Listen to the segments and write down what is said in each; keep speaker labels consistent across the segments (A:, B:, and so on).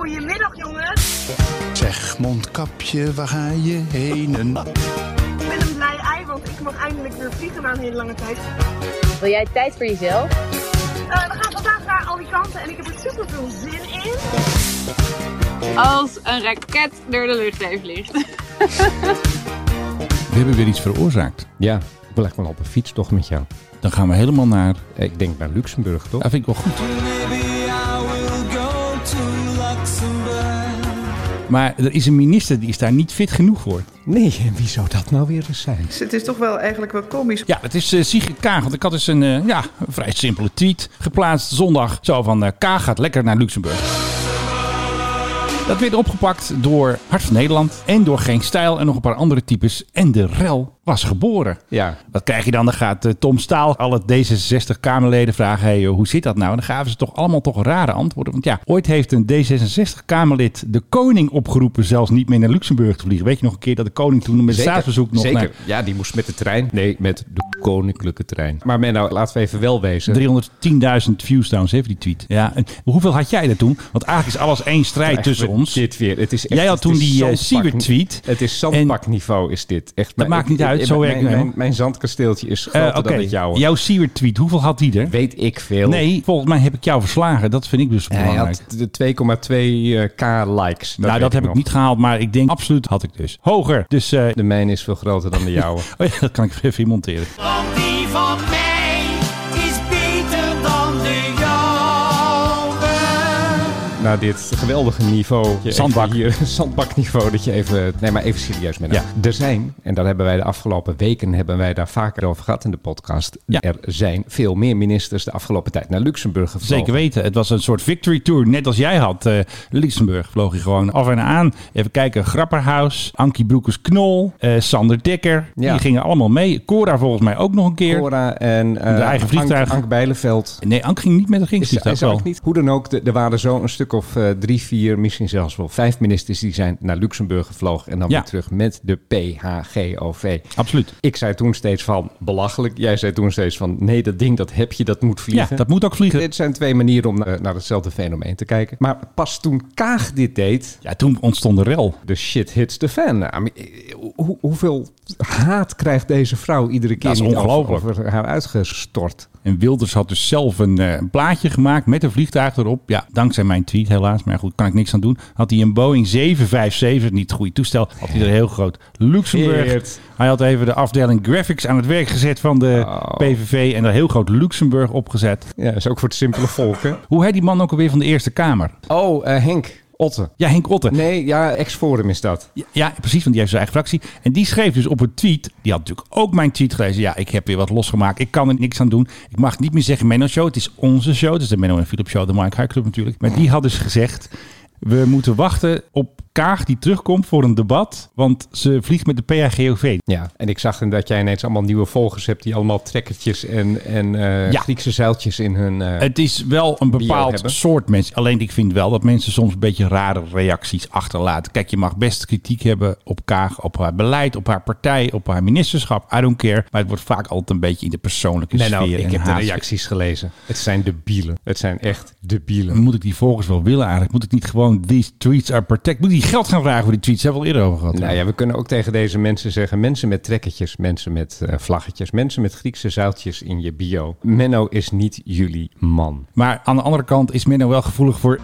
A: Goedemiddag jongens.
B: Zeg, mondkapje, waar ga je heen?
A: Ik ben een blij ei, want ik mag eindelijk weer vliegen na een hele lange tijd.
C: Wil jij tijd voor jezelf?
A: Eh, we gaan vandaag naar Alicante en ik heb er super veel zin in.
D: Als een raket door de lucht heen vliegt.
B: We hebben weer iets veroorzaakt.
E: Ja, ik wil echt wel op een fiets toch met jou.
B: Dan gaan we helemaal naar...
E: Ik denk naar Luxemburg, toch?
B: Dat vind ik wel goed. Maar er is een minister die is daar niet fit genoeg voor.
E: Nee, en wie zou dat nou weer eens zijn?
F: Dus het is toch wel eigenlijk wel komisch.
B: Ja, dat is eh Sigrid Kaag. Want ik had dus een, eh, ja, een vrij simpele tweet geplaatst zondag. Zo van, eh, Kaag gaat lekker naar Luxemburg. Dat werd opgepakt door Hart van Nederland en door Geen Stijl en nog een paar andere types. En de rel was geboren.
E: Ja.
B: Wat krijg je dan? Dan gaat eh, Tom Staal alle D66-Kamerleden vragen: hey, joh, hoe zit dat nou? En dan gaven ze toch allemaal toch rare antwoorden. Want ja, ooit heeft een D66-Kamerlid de koning opgeroepen zelfs niet meer naar Luxemburg te vliegen. Weet je nog een keer dat de koning toen met
E: Zeker,
B: staatsbezoek nog
E: Zeker.
B: naar
E: Ja, die moest met de trein. Nee, met de koninklijke trein. Maar men, nou, laten we even wel wezen.
B: 310.000 views trouwens heeft die tweet. Ja, en hoeveel had jij er toen? Want eigenlijk is alles één strijd
E: Echt
B: tussen
E: met
B: ons.
E: Dit weer. Het is echt,
B: Jij had
E: het
B: toen
E: is
B: die, eh,
E: zandbak-
B: Siewert-tweet.
E: Het is zandbakniveau is dit. Echt, mijn-
B: maakt niet
E: ik-
B: uit,
E: ik-
B: zo
E: mijn-
B: werkt het
E: mijn,
B: helemaal.
E: mijn zandkasteeltje is
B: Eh,
E: groter dan het jouwe.
B: jouw Siewert-tweet, hoeveel had die er?
E: Weet ik veel.
B: Nee, volgens mij heb ik jou verslagen. Dat vind ik dus
E: Hij
B: belangrijk.
E: had de 2,2k eh, likes.
B: nou,
E: weet
B: dat
E: ik
B: heb ik
E: nog.
B: niet gehaald, maar ik denk absoluut had ik dus. Hoger. Dus eh,
E: De mijne is veel groter dan de jouwe.
B: oh ja, dat kan ik er even in monteren.
G: Want die van mij is beter dan de jouwe.
E: Nou, dit geweldige niveau. Je
B: Zandbak.
E: even Hier, zandbakniveau dat je even... Nee, maar even serieus mee.
B: Ja.
E: Er zijn, en daar hebben wij de afgelopen weken hebben wij daar vaker over gehad in de podcast.
B: Ja.
E: Er zijn veel meer ministers de afgelopen tijd naar Luxemburg gevlogen.
B: Zeker weten. Het was een soort victory tour. Net als jij had. eh, Luxemburg vloog je gewoon af en aan. Even kijken. Grapperhaus. Ankie Broekers-Knol. eh, Sander Dekker.
E: Ja.
B: Die gingen allemaal mee. Cora volgens mij ook nog een keer.
E: Cora en eh
B: Met haar eigen vliegtuig.
E: Ank, Ank Bijleveld.
B: Nee, Ank ging niet met een ging.
E: Is, is
B: wel.
E: ook niet. Hoe dan ook, de- er waren zo een stuk of eh, drie, vier, misschien zelfs wel vijf ministers die zijn naar Luxemburg gevlogen en dan
B: Ja.
E: weer terug met de PHGOV.
B: Absoluut.
E: Ik zei toen steeds van belachelijk. Jij zei toen steeds van nee, dat ding dat heb je, dat moet vliegen.
B: Ja, dat moet ook vliegen.
E: Dit zijn twee manieren om eh, naar, hetzelfde fenomeen te kijken. Maar pas toen Kaag dit deed,
B: Ja, toen ontstond de rel.
E: de shit hits the fan. I mean, eh, hoe- hoeveel haat krijgt deze vrouw iedere keer
B: is
E: niet over-
B: ongelooflijk.
E: over haar uitgestort?
B: En Wilders had dus zelf een eh, een plaatje gemaakt met een vliegtuig erop. Ja, dankzij mijn tweet helaas. Maar goed, kan ik niks aan doen. Had hij een Boeing 757, niet het goede toestel. Had hij er heel groot Luxemburg.
E: Geert.
B: Hij had even de afdeling graphics aan het werk gezet van de PVV. En er heel groot Luxemburg opgezet.
E: Ja, is ook voor het simpele volk, hè?
B: Hoe heet die man ook alweer van de Eerste Kamer?
E: Oh, eh, Henk Otte.
B: Ja, Henk Otten.
E: Nee, ja, ex-forum is dat.
B: Ja, Ja, precies, want die heeft zijn eigen fractie. En die schreef dus op een tweet. Die had natuurlijk ook mijn tweet gelezen. Ja, ik heb weer wat losgemaakt. Ik kan er niks aan doen. Ik mag niet meer zeggen Menno Show. Het is onze show. Het is de Menno en Philip Show, de Mike High Club natuurlijk. Maar die had dus gezegd... We moeten wachten op Kaag die terugkomt voor een debat. Want ze vliegt met de PHGOV.
E: Ja, en ik zag dat jij ineens allemaal nieuwe volgers hebt die allemaal trekkertjes en, en eh,
B: Ja.
E: Griekse zeiltjes in hun... eh,
B: Het is wel een bepaald
E: hebben.
B: soort mensen. Alleen ik vind wel dat mensen soms een beetje rare reacties achterlaten. Kijk, je mag best kritiek hebben op Kaag, op haar beleid, op haar partij, op haar ministerschap. I don't care. Maar het wordt vaak altijd een beetje in de persoonlijke
E: Nee,
B: sfeer.
E: nou, ik
B: en
E: heb de
B: haat.
E: reacties gelezen. Het zijn debielen. Het zijn echt debielen.
B: Moet ik die volgers wel willen eigenlijk? Moet ik niet gewoon these tweets are protect? Moet ik die geld gaan vragen voor die tweets? Daar hebben we al eerder over gehad.
E: Nou ja, we kunnen ook tegen deze mensen zeggen: mensen met trekkertjes, mensen met eh, vlaggetjes, mensen met Griekse zoutjes in je bio. Menno is niet jullie man.
B: Maar aan de andere kant is Menno wel gevoelig voor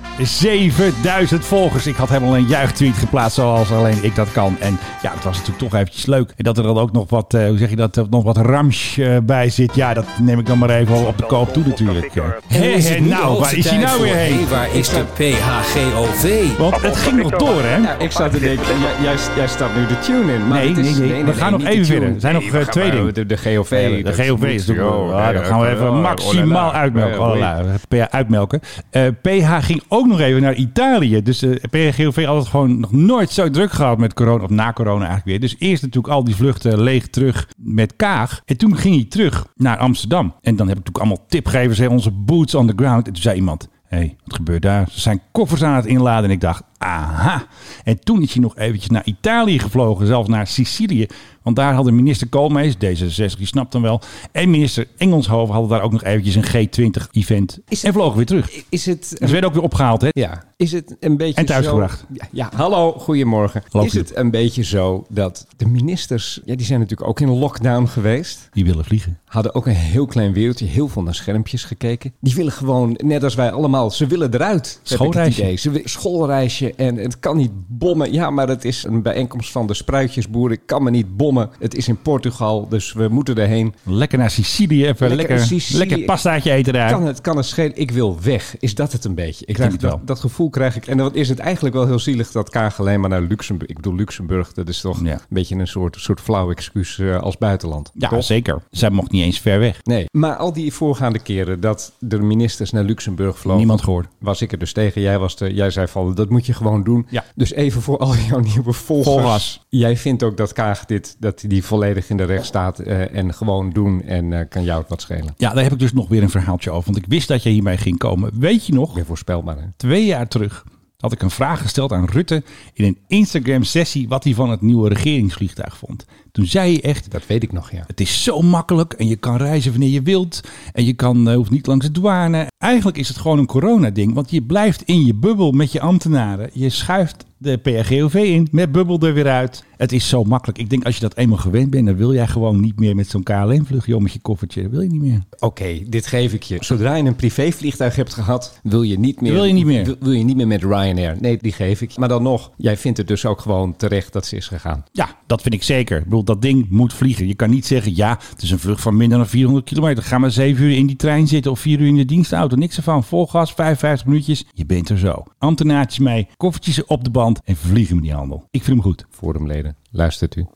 B: 7000 volgers. Ik had helemaal een juichtweet geplaatst zoals alleen ik dat kan. En ja, het was natuurlijk toch eventjes leuk. En dat er dan ook nog wat, eh, hoe zeg je dat, eh, nog wat rams eh, bij zit. Ja, dat neem ik dan maar even op de koop toe natuurlijk. Hé, hé, nou, waar is hij nou weer heen?
H: waar is de PHGOV?
B: Want het ging nog door, hè?
E: Nou, ik zat te denken: jij, jij, jij staat nu de tune in. Maar
B: Nee,
E: het is-
B: nee, nee, we gaan nog
E: niet
B: even
E: de tune.
B: verder. Er zijn nog,
E: we
B: eh,
E: gaan
B: twee
E: maar-
B: dingen. Eh,
E: De, de GOV.
B: de GOV is natuurlijk.
E: Oh,
B: Ja, dan gaan we even maximaal uitmelken. Olala, PH uitmelken. Eh, PH ging ook nog even naar Italië. Dus eh PHGOV had het gewoon nog nooit zo druk gehad met corona. Of na corona eigenlijk weer. Dus eerst natuurlijk al die vluchten leeg terug met Kaag. En toen ging hij terug naar Amsterdam. En dan heb ik natuurlijk allemaal tipgevers. Hè, onze boots on the ground. En toen zei iemand... Hé, hey, wat gebeurt daar? Ze zijn koffers aan het inladen. En ik dacht, Aha. En toen is hij nog eventjes naar Italië gevlogen, zelfs naar Sicilië. Want daar hadden minister Koolmees, D66, je snapt dan wel, en minister Engelshoven hadden daar ook nog eventjes een G20-event.
E: Is-
B: En vlogen weer terug.
E: Is het...
B: En ze werden ook weer opgehaald, hè?
E: Ja, is het een beetje
B: En thuisgebracht.
E: zo- Ja, ja, hallo, goedemorgen.
B: Hallo,
E: is het een beetje zo dat de ministers... Ja, die zijn natuurlijk ook in lockdown geweest.
B: Die willen vliegen.
E: Hadden ook een heel klein wereldje, heel veel naar schermpjes gekeken. Die willen gewoon, net als wij allemaal, ze willen eruit. heb ik het
B: Schoolreisje.
E: idee. Ze wi- schoolreisje en het kan niet bommen. Ja, maar het is een bijeenkomst van de spruitjesboeren. Ik kan me niet bommen. Het is in Portugal, dus we moeten erheen.
B: Lekker naar Sicilië even.
E: Lekker
B: Lekker, lekker,
E: Sicilië.
B: pastaatje eten daar.
E: Kan het, kan het schelen? Ik wil weg. Is dat het een beetje? Ik krijg
B: denk
E: dat,
B: het wel.
E: dat gevoel krijg ik. En dan is het eigenlijk wel heel zielig dat Kaag alleen maar naar Luxemburg. Ik bedoel, Luxemburg, dat is toch
B: Ja.
E: een beetje een soort, soort flauw excuus eh, als buitenland.
B: Ja,
E: toch?
B: zeker. Zij mocht niet eens ver weg.
E: Nee. Maar al die voorgaande keren dat de ministers naar Luxemburg vlogen.
B: Niemand gehoord.
E: Was ik er dus tegen. Jij, was de, jij zei van, dat moet je gewoon doen.
B: Ja.
E: Dus even voor al jouw nieuwe volgers.
B: Volgers.
E: Jij vindt ook dat Kaag dit, dat hij die volledig in de recht staat eh, en gewoon doen. En eh, kan jou het wat schelen.
B: Ja, daar heb ik dus nog weer een verhaaltje over. Want ik wist dat je hiermee ging komen. Weet je nog,
E: Weer voorspelbaar, hè?
B: twee jaar terug had ik een vraag gesteld aan Rutte in een Instagram-sessie wat hij van het nieuwe regeringsvliegtuig vond. Toen zei hij echt,
E: Dat weet ik nog, ja.
B: het is zo makkelijk en je kan reizen wanneer je wilt en je kan, eh, hoeft niet langs de douane. Eigenlijk is het gewoon een coronading, want je blijft in je bubbel met je ambtenaren. Je schuift de PRGOV in, met bubbel er weer uit. Het is zo makkelijk. Ik denk als je dat eenmaal gewend bent, dan wil jij gewoon niet meer met zo'n KLM-vlucht, joh, met je koffertje. Dat wil je niet meer.
E: Oké, dit geef ik je. Zodra je een privévliegtuig hebt gehad, wil je niet meer,
B: Wil je niet meer.
E: Wil, wil je niet meer met Ryanair. Nee, die geef ik je. Maar dan nog, jij vindt het dus ook gewoon terecht dat ze is gegaan.
B: Ja, dat vind ik zeker. Ik bedoel, dat ding moet vliegen. Je kan niet zeggen, ja, het is een vlucht van minder dan 400 kilometer. Ga maar 7 uur in die trein zitten of 4 uur in de dienstauto. Niks ervan. Vol gas, 55 minuutjes. Je bent er zo. Ambtenaartjes mee, koffertjes op de band en vliegen met die handel. Ik vind hem goed.
E: Forumleden, luistert u.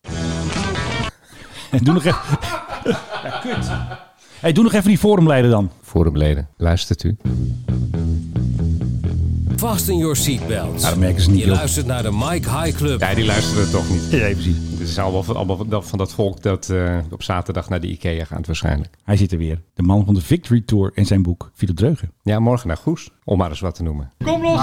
B: En doe nog even... ja, kut. Hey, doe nog even die forumleider dan.
E: Forumleden, luistert u.
H: Vast in your seatbelt.
B: Nou, dat merken ze niet,
H: Je
B: joh.
H: luistert naar de Mike High Club.
E: Ja, die luisteren toch niet.
B: Ja, precies.
E: Het is allemaal van, allemaal dat- van dat volk dat eh, op zaterdag naar de IKEA gaat waarschijnlijk.
B: Hij zit er weer. De man van de Victory Tour en zijn boek Philip Dreugen.
E: Ja, morgen naar Goes, om maar eens wat te noemen.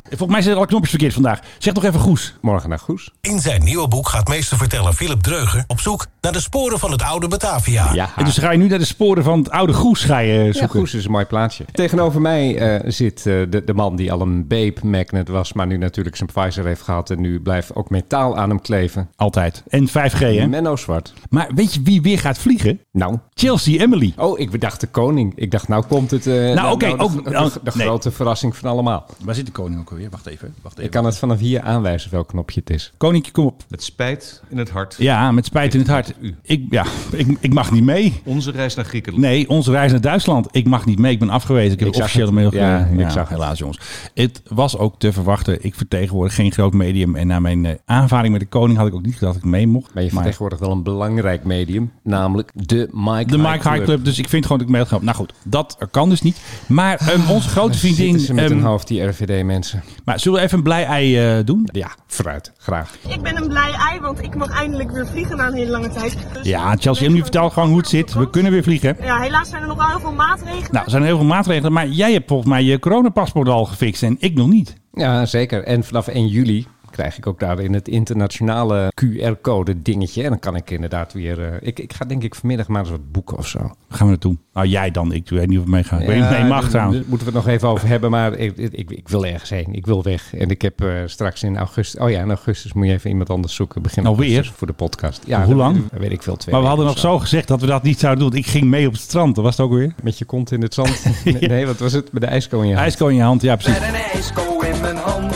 B: Volgens mij zijn er al knopjes verkeerd vandaag. Zeg nog even Goes.
E: Morgen naar Goes.
I: In zijn nieuwe boek gaat meesterverteller Philip Dreuger op zoek naar de sporen van het oude Batavia.
E: Ja,
B: En dus ga je nu naar de sporen van het oude Goes ga je
E: Ja,
B: zoeken.
E: Goes is een mooi plaatsje. Tegenover mij eh, zit eh, de, de man die al een babe magnet was, maar nu natuurlijk zijn Pfizer heeft gehad en nu blijft ook metaal aan hem kleven.
B: Altijd. En 5G, hè?
E: Menno Zwart.
B: Maar weet je wie weer gaat vliegen?
E: Nou.
B: Chelsea Emily.
E: Oh, ik dacht de koning. Ik dacht, nou komt het. eh,
B: oké,
E: de-
B: ook-
E: de,
B: nou,
E: de- de
B: nee.
E: grote verrassing van allemaal.
B: Waar zit de koning ook alweer? Wacht even. Wacht
E: Ik kan het vanaf hier aanwijzen welk knopje het is.
B: Koninkje, kom op.
J: Met spijt in het hart.
B: Ja, met spijt in het hart.
J: U.
B: Ik, ja, ik, ik mag niet mee.
J: Onze reis naar Griekenland.
B: Nee, onze reis naar Duitsland. Ik mag niet mee. Ik ben afgewezen. Ik heb
E: Ik
B: een
E: zag
B: officiële
E: het.
B: mail
E: Ja,
B: gekregen.
E: ik zag het.
B: helaas jongens. Het was ook te verwachten. Ik vertegenwoordig geen groot medium. En na mijn eh, aanvaring met de koning had ik ook niet gedacht dat ik mee mocht.
E: Maar je vertegenwoordigt wel een belangrijk medium, namelijk de Mike
B: de Mike High Club. Dus ik vind gewoon dat ik mee ga. Nou goed, dat kan dus niet. Maar ehm, onze grote vriendin...
E: Zitten ze met
B: ehm,
E: een hoofd, die RVD-mensen.
B: maar zullen we even een blij ei eh, doen?
E: Ja, vooruit. Graag.
A: Ik ben een blij ei, want ik mag eindelijk weer vliegen na een hele lange tijd. Dus-
B: Ja, Chelsea Emily, vertel gewoon hoe het zit. We kunnen weer vliegen.
A: Ja, helaas zijn er nog wel heel veel maatregelen.
B: Nou, er zijn heel veel maatregelen, maar jij hebt volgens mij je coronapaspoort al gefixt en ik nog niet.
E: Ja, zeker. En vanaf 1 juli krijg ik ook daar in het internationale QR-code dingetje. En dan kan ik inderdaad weer... eh, ik, ik ga denk ik vanmiddag maar eens wat boeken of zo.
B: Waar gaan we naartoe? Nou, jij dan. Ik weet niet of ik mee ga. Ik weet niet of ik mee mag
E: daar-
B: trouwens.
E: daar moeten we het nog even over hebben, maar ik, ik, ik wil ergens heen. Ik wil weg. En ik heb eh, straks in augustus... Oh ja, in augustus moet je even iemand anders zoeken. Begin
B: Alweer?
E: augustus Voor de podcast. Ja,
B: Nou, Hoe
E: dat-
B: lang?
E: dat weet ik veel. Twee
B: Maar we
E: weken of
B: hadden nog zo gezegd dat we dat niet zouden doen. want Ik ging mee op het strand. Dat was het ook weer.
E: Met je kont in het zand. Nee, Nee, wat was het? Met de ijsko in je hand.
B: IJsko in je hand, ja precies.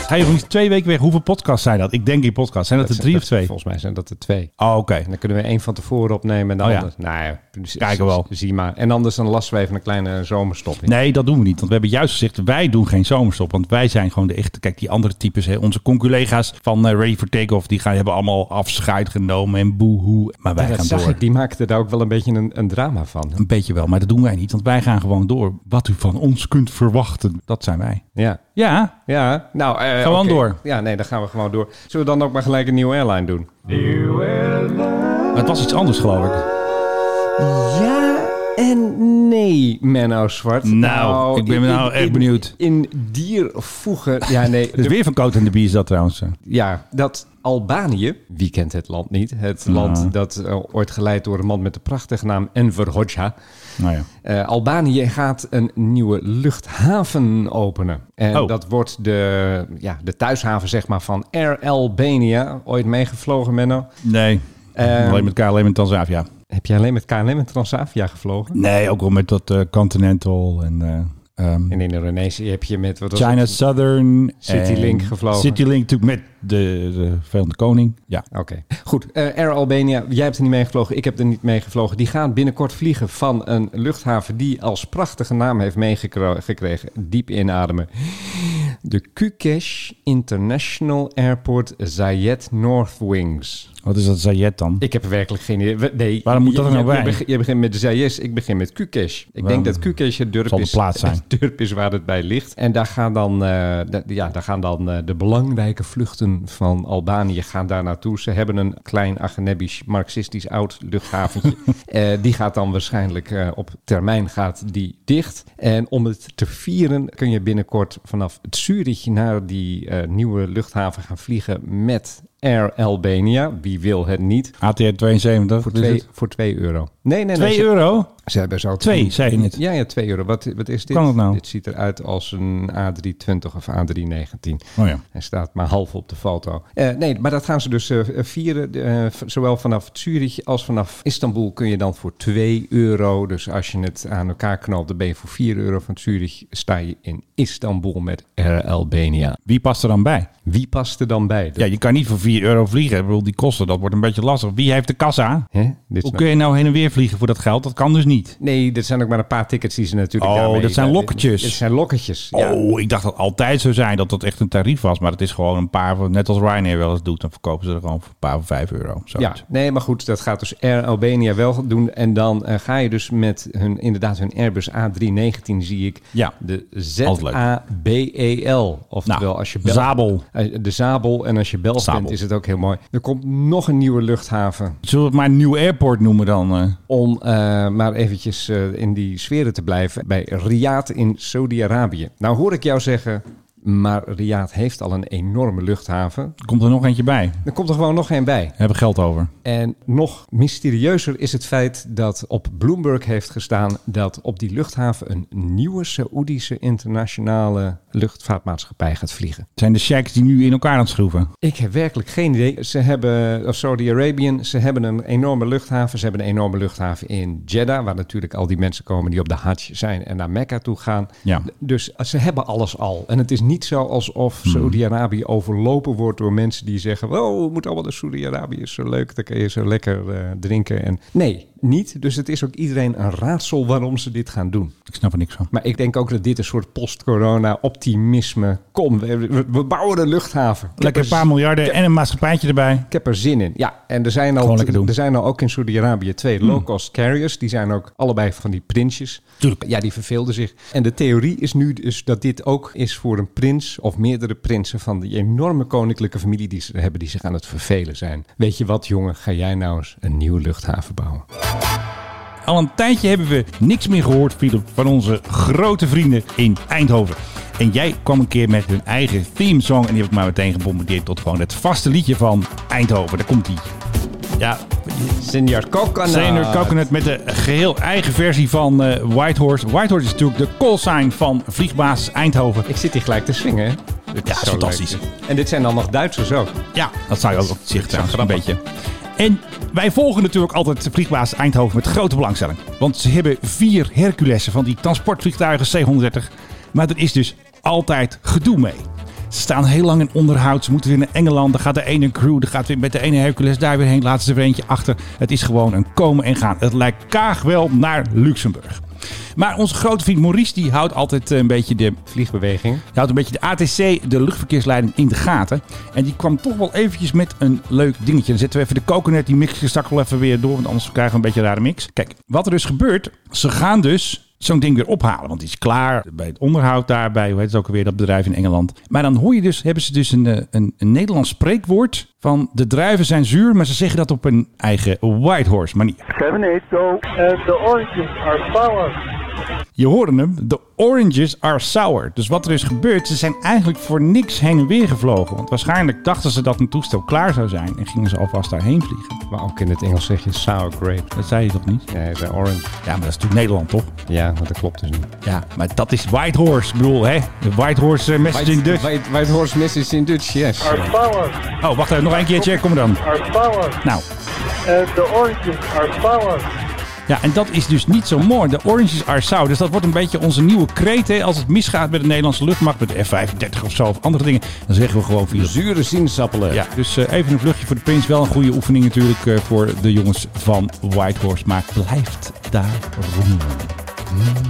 B: Ga je nog niet twee weken weg? Hoeveel podcasts zijn dat? Ik denk die podcasts. Zijn dat er
E: Dat
B: drie
E: zijn-
B: of twee?
E: Volgens mij zijn dat er twee.
B: Oh, oké.
E: En dan kunnen we één van tevoren opnemen en de
B: Oh ja.
E: ander. Nou ja, dus-
B: Kijken we wel.
E: Zie maar. En anders dan lassen we even een kleine zomerstop in.
B: Nee, dat doen we niet. Want we hebben juist gezegd, wij doen geen zomerstop. Want wij zijn gewoon de echte... Kijk, die andere types, hè, onze conculega's van eh, Ready for Takeoff... die gaan, hebben allemaal afscheid genomen en boehoe. Maar wij
E: Ja, dat
B: gaan
E: zag
B: door.
E: ik. Die maakte daar ook wel een beetje een, een drama van.
B: Een beetje wel, maar dat doen wij niet. Want wij gaan gewoon door. Wat u van ons kunt verwachten, dat zijn wij.
E: Ja.
B: Ja,
E: Ja, nou... eh,
B: Gewoon
E: oké.
B: door.
E: Ja, nee, dan gaan we gewoon door. Zullen we dan ook maar gelijk een nieuwe airline doen?
B: maar het was iets anders geloof ik.
E: Ja, En nee, Menno Zwart.
B: Nou, ik ben nou echt benieuwd.
E: In diervoegen... Ja, nee.
B: Het is weer van Coat en de Bie is dat trouwens. eh.
E: Ja, dat Albanië, wie kent het land niet? Het land dat eh, ooit geleid door een man met de prachtige naam Enver Hoxha.
B: Nou ja.
E: Eh, Albanië gaat een nieuwe luchthaven openen. En
B: Oh.
E: dat wordt de, ja, de thuishaven zeg maar, van Air Albania. Ooit meegevlogen, Menno.
B: Nee.
E: Ehm,
B: alleen met KLM en Transavia.
E: Heb je alleen met KLM en Transavia gevlogen?
B: Nee, ook wel met dat eh, Continental en eh, ehm,
E: En in Indonesië heb je met... Wat was
B: China
E: het?
B: Southern.
E: Citylink
B: en
E: gevlogen.
B: Citylink natuurlijk met de, de Verenigde Koning. Ja.
E: Oké, goed. Eh, Air Albania, jij hebt er niet mee gevlogen, ik heb er niet mee gevlogen. Die gaan binnenkort vliegen van een luchthaven die als prachtige naam heeft meegekregen. Diep inademen. De Kukesh International Airport Zayed North Wings.
B: Wat is dat Zayet dan?
E: Ik heb er werkelijk geen idee. We- Nee,
B: Waarom moet dat er
E: je-
B: nou
E: je-
B: bij?
E: Je, beg- je begint met Zayes, ik begin met Kukesh. Ik
B: Waarom?
E: denk dat Kukesh het dorp
B: Zal de
E: is,
B: plaats zijn.
E: het dorp is waar het bij ligt. En daar gaan dan, eh, da- ja, daar gaan dan eh, de belangrijke vluchten van Albanië gaan daar naartoe. Ze hebben een klein Agnebisch, marxistisch oud luchthaventje. Eh, die gaat dan waarschijnlijk eh, op termijn gaat die dicht. En om het te vieren kun je binnenkort vanaf Zurich naar die eh, nieuwe luchthaven gaan vliegen met... Air Albania, wie wil het niet?
B: ATR 72.
E: Voor
B: is
E: 2
B: het?
E: voor twee euro. Nee, nee, nee.
B: 2
E: ze-
B: euro?
E: Ze hebben zo
B: Twee, zei je net.
E: Ja, ja, 2 euro. Wat, wat is dit?
B: Kan het nou?
E: Dit ziet eruit als een A320 of A319.
B: Oh ja.
E: Hij staat maar half op de foto. Eh, nee, maar dat gaan ze dus eh, vieren. Eh, v- zowel vanaf Zurich als vanaf Istanbul kun je dan voor 2 euro. Dus als je het aan elkaar knalt, dan ben je voor 4 euro van Zurich. Sta je in Istanbul met Air Albania.
B: Wie past er dan bij?
E: Wie past er dan bij? Dat-
B: Ja, je kan niet voor 4 euro vliegen. Ik bedoel, die kosten, dat wordt een beetje lastig. Wie heeft de kassa?
E: Hè? Dit
B: Hoe
E: snap-
B: kun je nou heen en weer vliegen voor dat geld? Dat kan dus niet.
E: Nee, dat zijn ook maar een paar tickets die ze natuurlijk
B: Oh,
E: daarmee-
B: dat zijn lokketjes.
E: Dit zijn lokketjes, ja.
B: Oh, ik dacht dat altijd zo zijn dat dat echt een tarief was. Maar het is gewoon een paar, van- net als Ryanair wel eens doet. Dan verkopen ze er gewoon voor een paar van 5 euro. Zo.
E: Ja, nee, maar goed, dat gaat dus Air Albania wel doen. En dan eh, ga je dus met hun, inderdaad hun Airbus A319, zie ik.
B: Ja.
E: De
B: Altijd leuk.
E: ZABEL. E Oftewel,
B: Nou,
E: als je Belg-
B: Zabel.
E: Eh, De Zabel. En als je Belg
B: Zabel.
E: bent, is het ook heel mooi. Er komt nog een nieuwe luchthaven.
B: Zullen we het maar Nieuw Airport noemen dan? eh?
E: Om eh, maar eventjes eh, in die sferen te blijven. Bij Riyadh in Saudi-Arabië. Nou hoor ik jou zeggen... Maar Riyadh heeft al een enorme luchthaven.
B: Komt er nog eentje bij?
E: Er komt er gewoon nog geen bij.
B: We hebben geld over.
E: En nog mysterieuzer is het feit dat op Bloomberg heeft gestaan dat op die luchthaven een nieuwe Saoedische internationale luchtvaartmaatschappij gaat vliegen.
B: Het zijn de shacks die nu in elkaar aan het schroeven.
E: Ik heb werkelijk geen idee. Ze hebben, of Saudi-Arabian, ze hebben een enorme luchthaven. Ze hebben een enorme luchthaven in Jeddah, waar natuurlijk al die mensen komen die op de Hajj zijn en naar Mekka toe gaan.
B: Ja.
E: Dus ze hebben alles al. En het is niet zo alsof
B: Hmm.
E: Saudi-Arabië overlopen wordt door mensen die zeggen: Oh, we moeten allemaal naar Saudi-Arabië, is zo leuk, daar kun je zo lekker eh, drinken. En nee, niet. Dus het is ook iedereen een raadsel waarom ze dit gaan doen.
B: Ik snap er niks van.
E: Maar ik denk ook dat dit een soort post-corona-optimisme. Kom, we, we- we bouwen een luchthaven. Ik heb
B: Lekker
E: er
B: een paar miljarden en een maatschappijtje erbij.
E: ik heb er zin in. Ja, en er zijn
B: Gewoon
E: al,
B: lekker doen. Hmm.
E: er zijn al ook in Saudi-Arabië twee low-cost carriers. Die zijn ook allebei van die prinsjes.
B: Tuurlijk.
E: Ja, die verveelden zich. En de theorie is nu dus dat dit ook is voor een prins of meerdere prinsen van die enorme koninklijke familie die ze hebben, die zich aan het vervelen zijn. Weet je wat, jongen, ga jij nou eens een nieuwe luchthaven bouwen?
B: Al een tijdje hebben we niks meer gehoord, Philip, van onze grote vrienden in Eindhoven. En jij kwam een keer met hun eigen theme song en die heb ik maar meteen gebombardeerd tot gewoon het vaste liedje van Eindhoven. Daar komt die. Ja,
E: Senior Coconut.
B: Trainer Coconut met de geheel eigen versie van eh, Whitehorse. Whitehorse is natuurlijk de callsign van vliegbaas Eindhoven.
E: Ik zit hier gelijk te swingen, hè? Dit
B: Ja,
E: zo
B: is fantastisch.
E: leuk. En dit zijn dan nog Duitsers ook.
B: Ja, dat zou je ook op zich trouwens een
E: grappig.
B: beetje. En wij volgen natuurlijk altijd vliegbaas Eindhoven met grote belangstelling. Want ze hebben vier Herculessen van die transportvliegtuigen C-130. Maar er is dus altijd gedoe mee. Ze staan heel lang in onderhoud. Ze moeten weer naar Engeland. Dan gaat de ene crew. Dan gaat weer met de ene Hercules daar weer heen. Laten ze er weer eentje achter. Het is gewoon een komen en gaan. Het lijkt kaag wel naar Luxemburg. Maar onze grote vriend Maurice die houdt altijd eh, een beetje de
E: Vliegbeweging.
B: je houdt een beetje de ATC, de luchtverkeersleiding, in de gaten. En die kwam toch wel eventjes met een leuk dingetje. Dan zetten we even de coconut, die mix straks wel even weer door. Want anders krijgen we een beetje een rare mix. Kijk, wat er dus gebeurt. Ze gaan dus zo'n ding weer ophalen. Want die is klaar bij het onderhoud daarbij. Hoe heet het ook alweer, dat bedrijf in Engeland. Maar dan hoor je dus, hebben ze dus een, eh, een, een Nederlands spreekwoord van de druiven zijn zuur, maar ze zeggen dat op een eigen Whitehorse manier. Je hoorde hem, de oranges are sour. Dus wat er is gebeurd, ze zijn eigenlijk voor niks heen en weer gevlogen. Want waarschijnlijk dachten ze dat een toestel klaar zou zijn en gingen ze alvast daarheen vliegen.
E: Maar ook in het Engels zeg je sour grape.
B: Dat zei je toch niet?
E: Nee, de orange.
B: Ja, maar dat is natuurlijk Nederland, toch?
E: Ja, maar dat klopt dus niet.
B: Ja, maar dat is Whitehorse. Ik bedoel, hè? De Whitehorse eh, messaging Dutch.
E: White, White Horse Message in Dutch, yes.
B: Oh, wacht even. Nog een keertje. Kom dan. Nou. Ja, en dat is dus niet zo mooi. De oranges are sour. Dus dat wordt een beetje onze nieuwe kreet. Hè? Als het misgaat met de Nederlandse luchtmacht, met de F-35 of zo of andere dingen, dan zeggen we gewoon via
E: Zure sinaasappelen.
B: Ja, dus eh, even een vluchtje voor de prins. Wel een goede oefening natuurlijk eh, voor de jongens van Whitehorse. Maar blijft daar roemen. Mm.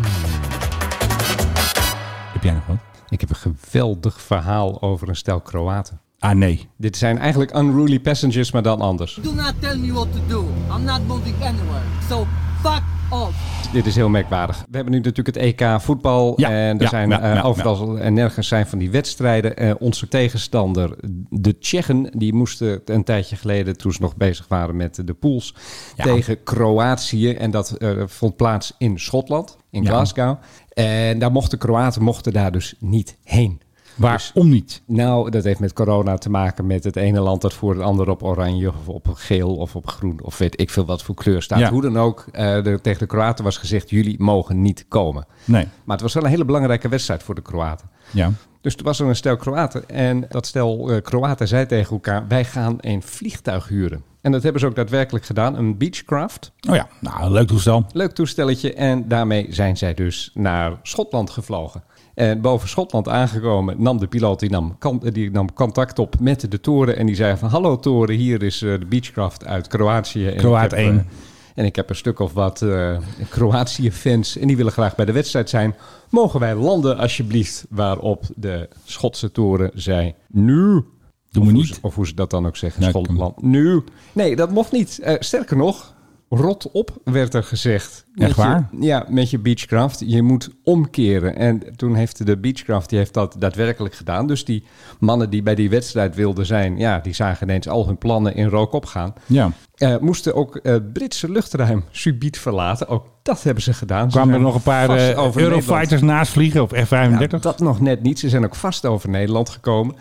B: Heb jij nog wat?
E: Ik heb een geweldig verhaal over een stel Kroaten.
B: Ah, nee.
E: Dit zijn eigenlijk unruly passengers, maar dan anders.
G: Do not tell me what to do. I'm not moving anywhere. So fuck off.
E: Dit is heel merkwaardig. We hebben nu natuurlijk het EK voetbal.
B: Ja,
E: en er
B: ja,
E: zijn
B: ja,
E: eh,
B: ja,
E: overal en nergens zijn van die wedstrijden. Eh, onze tegenstander, de Tsjechen, die moesten een tijdje geleden, toen ze nog bezig waren met de pools,
B: Ja.
E: tegen Kroatië. En dat eh, vond plaats in Schotland, in
B: Ja.
E: Glasgow. En daar mochten Kroaten mochten daar dus niet heen.
B: Waarom niet?
E: Nou, dat heeft met corona te maken met het ene land dat voor het andere op oranje of op geel of op groen of weet ik veel wat voor kleur staat.
B: Ja.
E: Hoe dan ook, eh, de, tegen de Kroaten was gezegd, jullie mogen niet komen.
B: Nee.
E: Maar het was wel een hele belangrijke wedstrijd voor de Kroaten.
B: Ja.
E: Dus er was er een stel Kroaten en dat stel eh, Kroaten zei tegen elkaar, wij gaan een vliegtuig huren. En dat hebben ze ook daadwerkelijk gedaan, een Beechcraft.
B: Oh ja, nou, leuk toestel.
E: Leuk toestelletje. En daarmee zijn zij dus naar Schotland gevlogen. En boven Schotland aangekomen nam de piloot die nam, kan- die nam contact op met de toren. En die zei van hallo toren, hier is eh, de Beechcraft uit Kroatië. En
B: Kroaat
E: ik heb,
B: één.
E: eh, en ik heb een stuk of wat eh, Kroatië-fans en die willen graag bij de wedstrijd zijn. Mogen wij landen alsjeblieft? Waarop de Schotse toren zei nu. Of
B: Doen we
E: hoe ze-
B: niet.
E: Of hoe ze dat dan ook zeggen.
B: Ja,
E: Schotland. Nu. Nee, dat mocht niet. Eh, sterker nog, rot op werd er gezegd. Met
B: Echt waar?
E: Je, ja, met je Beechcraft. Je moet omkeren. En toen heeft de Beechcraft die heeft dat daadwerkelijk gedaan. Dus die mannen die bij die wedstrijd wilden zijn, ja, die zagen ineens al hun plannen in rook opgaan.
B: Ja.
E: Eh, moesten ook eh, het Britse luchtruim subiet verlaten. Ook dat hebben ze gedaan. Ze
B: Kwamen er
E: zijn
B: nog een paar
E: vast
B: eh,
E: over Nederland.
B: Eurofighters naast vliegen op F-35?
E: Ja, dat nog net niet. Ze zijn ook vast over Nederland gekomen.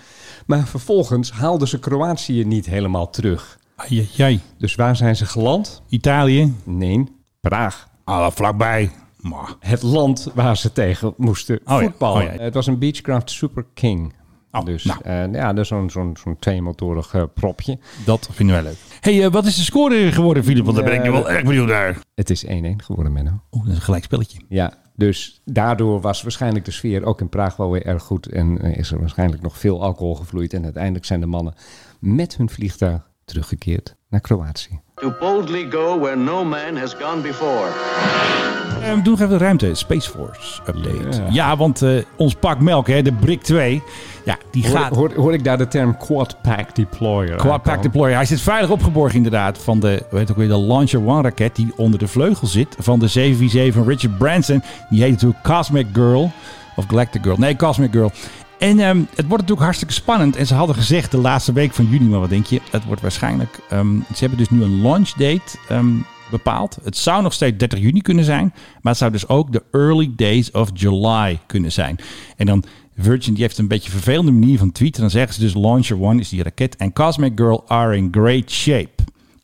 E: Maar vervolgens haalden ze Kroatië niet helemaal terug.
B: Ai, ai, ai.
E: Dus waar zijn ze geland?
B: Italië?
E: Nee, Praag.
B: Ah, vlakbij. Maar.
E: Het land waar ze tegen moesten
B: ja.
E: voetballen. Eh,
B: Oh ja.
E: Het was een Beechcraft Super King.
B: Oh,
E: dus
B: nou.
E: eh, ja, dat is zo'n zo'n zo'n tweemotorig eh, propje.
B: Dat vinden wij leuk. hey, eh, wat is de score geworden, Filip? Want daar ben ik nu wel erg benieuwd naar.
E: Het is 1-1 geworden, Menno.
B: Oeh, dat is een gelijk spelletje.
E: Ja, dus daardoor was waarschijnlijk de sfeer ook in Praag wel weer erg goed. En eh, is er waarschijnlijk nog veel alcohol gevloeid. En uiteindelijk zijn de mannen met hun vliegtuig teruggekeerd naar Kroatië.
G: To boldly go where no man has gone before.
B: Ehm, doe nog even de ruimte. Space Force update. Ja, want eh, ons pak melk, hè, de Brik 2. Ja, die gaat...
E: Hoor, hoor, hoor ik daar de term quad pack deployer?
B: Quad Pack
E: aankomen?
B: Deployer. Hij zit veilig opgeborgen inderdaad van de, weet ook weer, de Launcher One raket die onder de vleugel zit van de 747 van Richard Branson. Die heet natuurlijk Cosmic Girl of Galactic Girl. Nee, Cosmic Girl. En ehm, het wordt natuurlijk hartstikke spannend. En ze hadden gezegd de laatste week van juni, maar wat denk je? Het wordt waarschijnlijk... ehm, ze hebben dus nu een launch date ehm, bepaald. Het zou nog steeds 30 juni kunnen zijn. Maar het zou dus ook de early days of July kunnen zijn. En dan Virgin die heeft een beetje een vervelende manier van tweeten. Dan zeggen ze dus Launcher One is die raket. En Cosmic Girl are in great shape.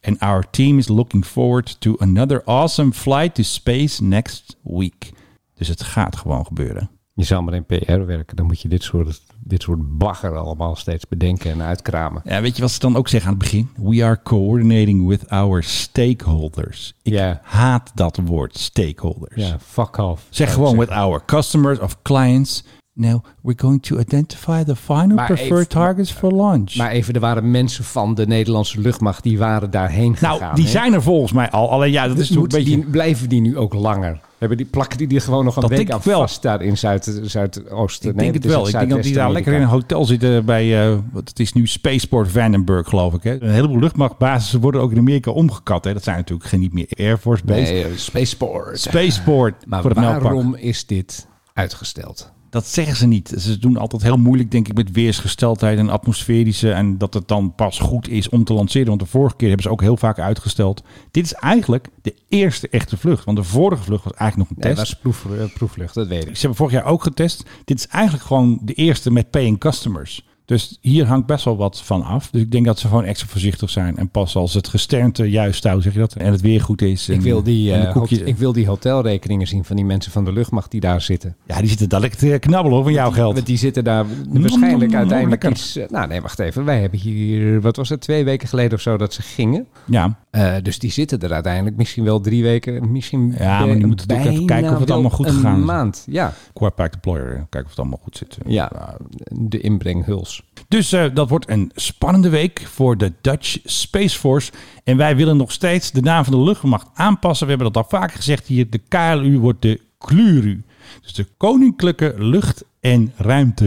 B: And our team is looking forward to another awesome flight to space next week. Dus het gaat gewoon gebeuren.
E: Je zou maar in PR werken, dan moet je dit soort, dit soort bagger allemaal steeds bedenken en uitkramen.
B: Ja, weet je wat ze dan ook zeggen aan het begin? We are coordinating with our stakeholders. Ik
E: Ja.
B: haat dat woord stakeholders.
E: Ja, fuck off.
B: Zeg gewoon with our customers of clients Now we're going to identify the final
E: Maar
B: preferred
E: even-
B: targets for launch.
E: Maar even, er waren mensen van de Nederlandse luchtmacht die waren daarheen gegaan.
B: nou,
E: hè?
B: die
E: Dus
B: zijn er volgens mij al. Alleen ja, dat is toch een
E: Moeten
B: beetje...
E: die, blijven die nu ook langer? Hebben die, plakken die die gewoon nog een
B: Dat
E: week
B: denk ik
E: aan
B: wel.
E: vast daar in Zuid, Zuidoosten?
B: Ik denk het wel. Ik denk dat die daar lekker in een hotel zitten bij, eh, wat het is nu Spaceport Vandenberg, geloof ik. Hè? Een heleboel luchtmachtbasissen worden ook in Amerika omgekat. Hè? Dat zijn natuurlijk geen niet meer Air Force Base.
E: Nee, Spaceport.
B: Spaceport
E: maar
B: voor het melkpak.
E: waarom is dit uitgesteld?
B: Dat zeggen ze niet. Ze doen altijd heel moeilijk, denk ik, met weersgesteldheid en atmosferische. En dat het dan pas goed is om te lanceren. Want de vorige keer hebben ze ook heel vaak uitgesteld. Dit is eigenlijk de eerste echte vlucht. Want de vorige vlucht was eigenlijk nog een
E: Nee,
B: test.
E: dat is proef, eh, proefvlucht, dat weet ik.
B: Ze hebben vorig jaar ook getest. Dit is eigenlijk gewoon de eerste met paying customers. Dus hier hangt best wel wat van af. Dus ik denk dat ze gewoon extra voorzichtig zijn. En pas als het gesternte juist houdt, zeg je dat. En het weer goed is. En,
E: Ik wil, die,
B: en de
E: eh,
B: koekje-
E: hot- ik wil die hotelrekeningen zien van die mensen van de luchtmacht die daar zitten.
B: Ja, die zitten dadelijk te knabbelen hoor, van jouw geld.
E: Want die zitten daar
B: nom, nom,
E: waarschijnlijk
B: nom,
E: uiteindelijk
B: lekker.
E: iets... eh, Nou nee, wacht even. Wij hebben hier, wat was het, twee weken geleden of zo dat ze gingen.
B: Ja.
E: Eh, dus die zitten er uiteindelijk misschien wel drie weken, misschien
B: Ja, maar
E: bij-
B: die moeten natuurlijk even
E: bijna
B: kijken of het
E: wel
B: allemaal goed gegaan is.
E: Een maand, ja.
B: Quartpack deployer. eh, Kijken of het allemaal goed zit. eh.
E: ja. De inbrenghuls.
B: Dus eh, dat wordt een spannende week voor de Dutch Space Force. En wij willen nog steeds de naam van de luchtmacht aanpassen. We hebben dat al vaker gezegd hier. De KLU wordt de KLURU. Dus de Koninklijke Lucht- en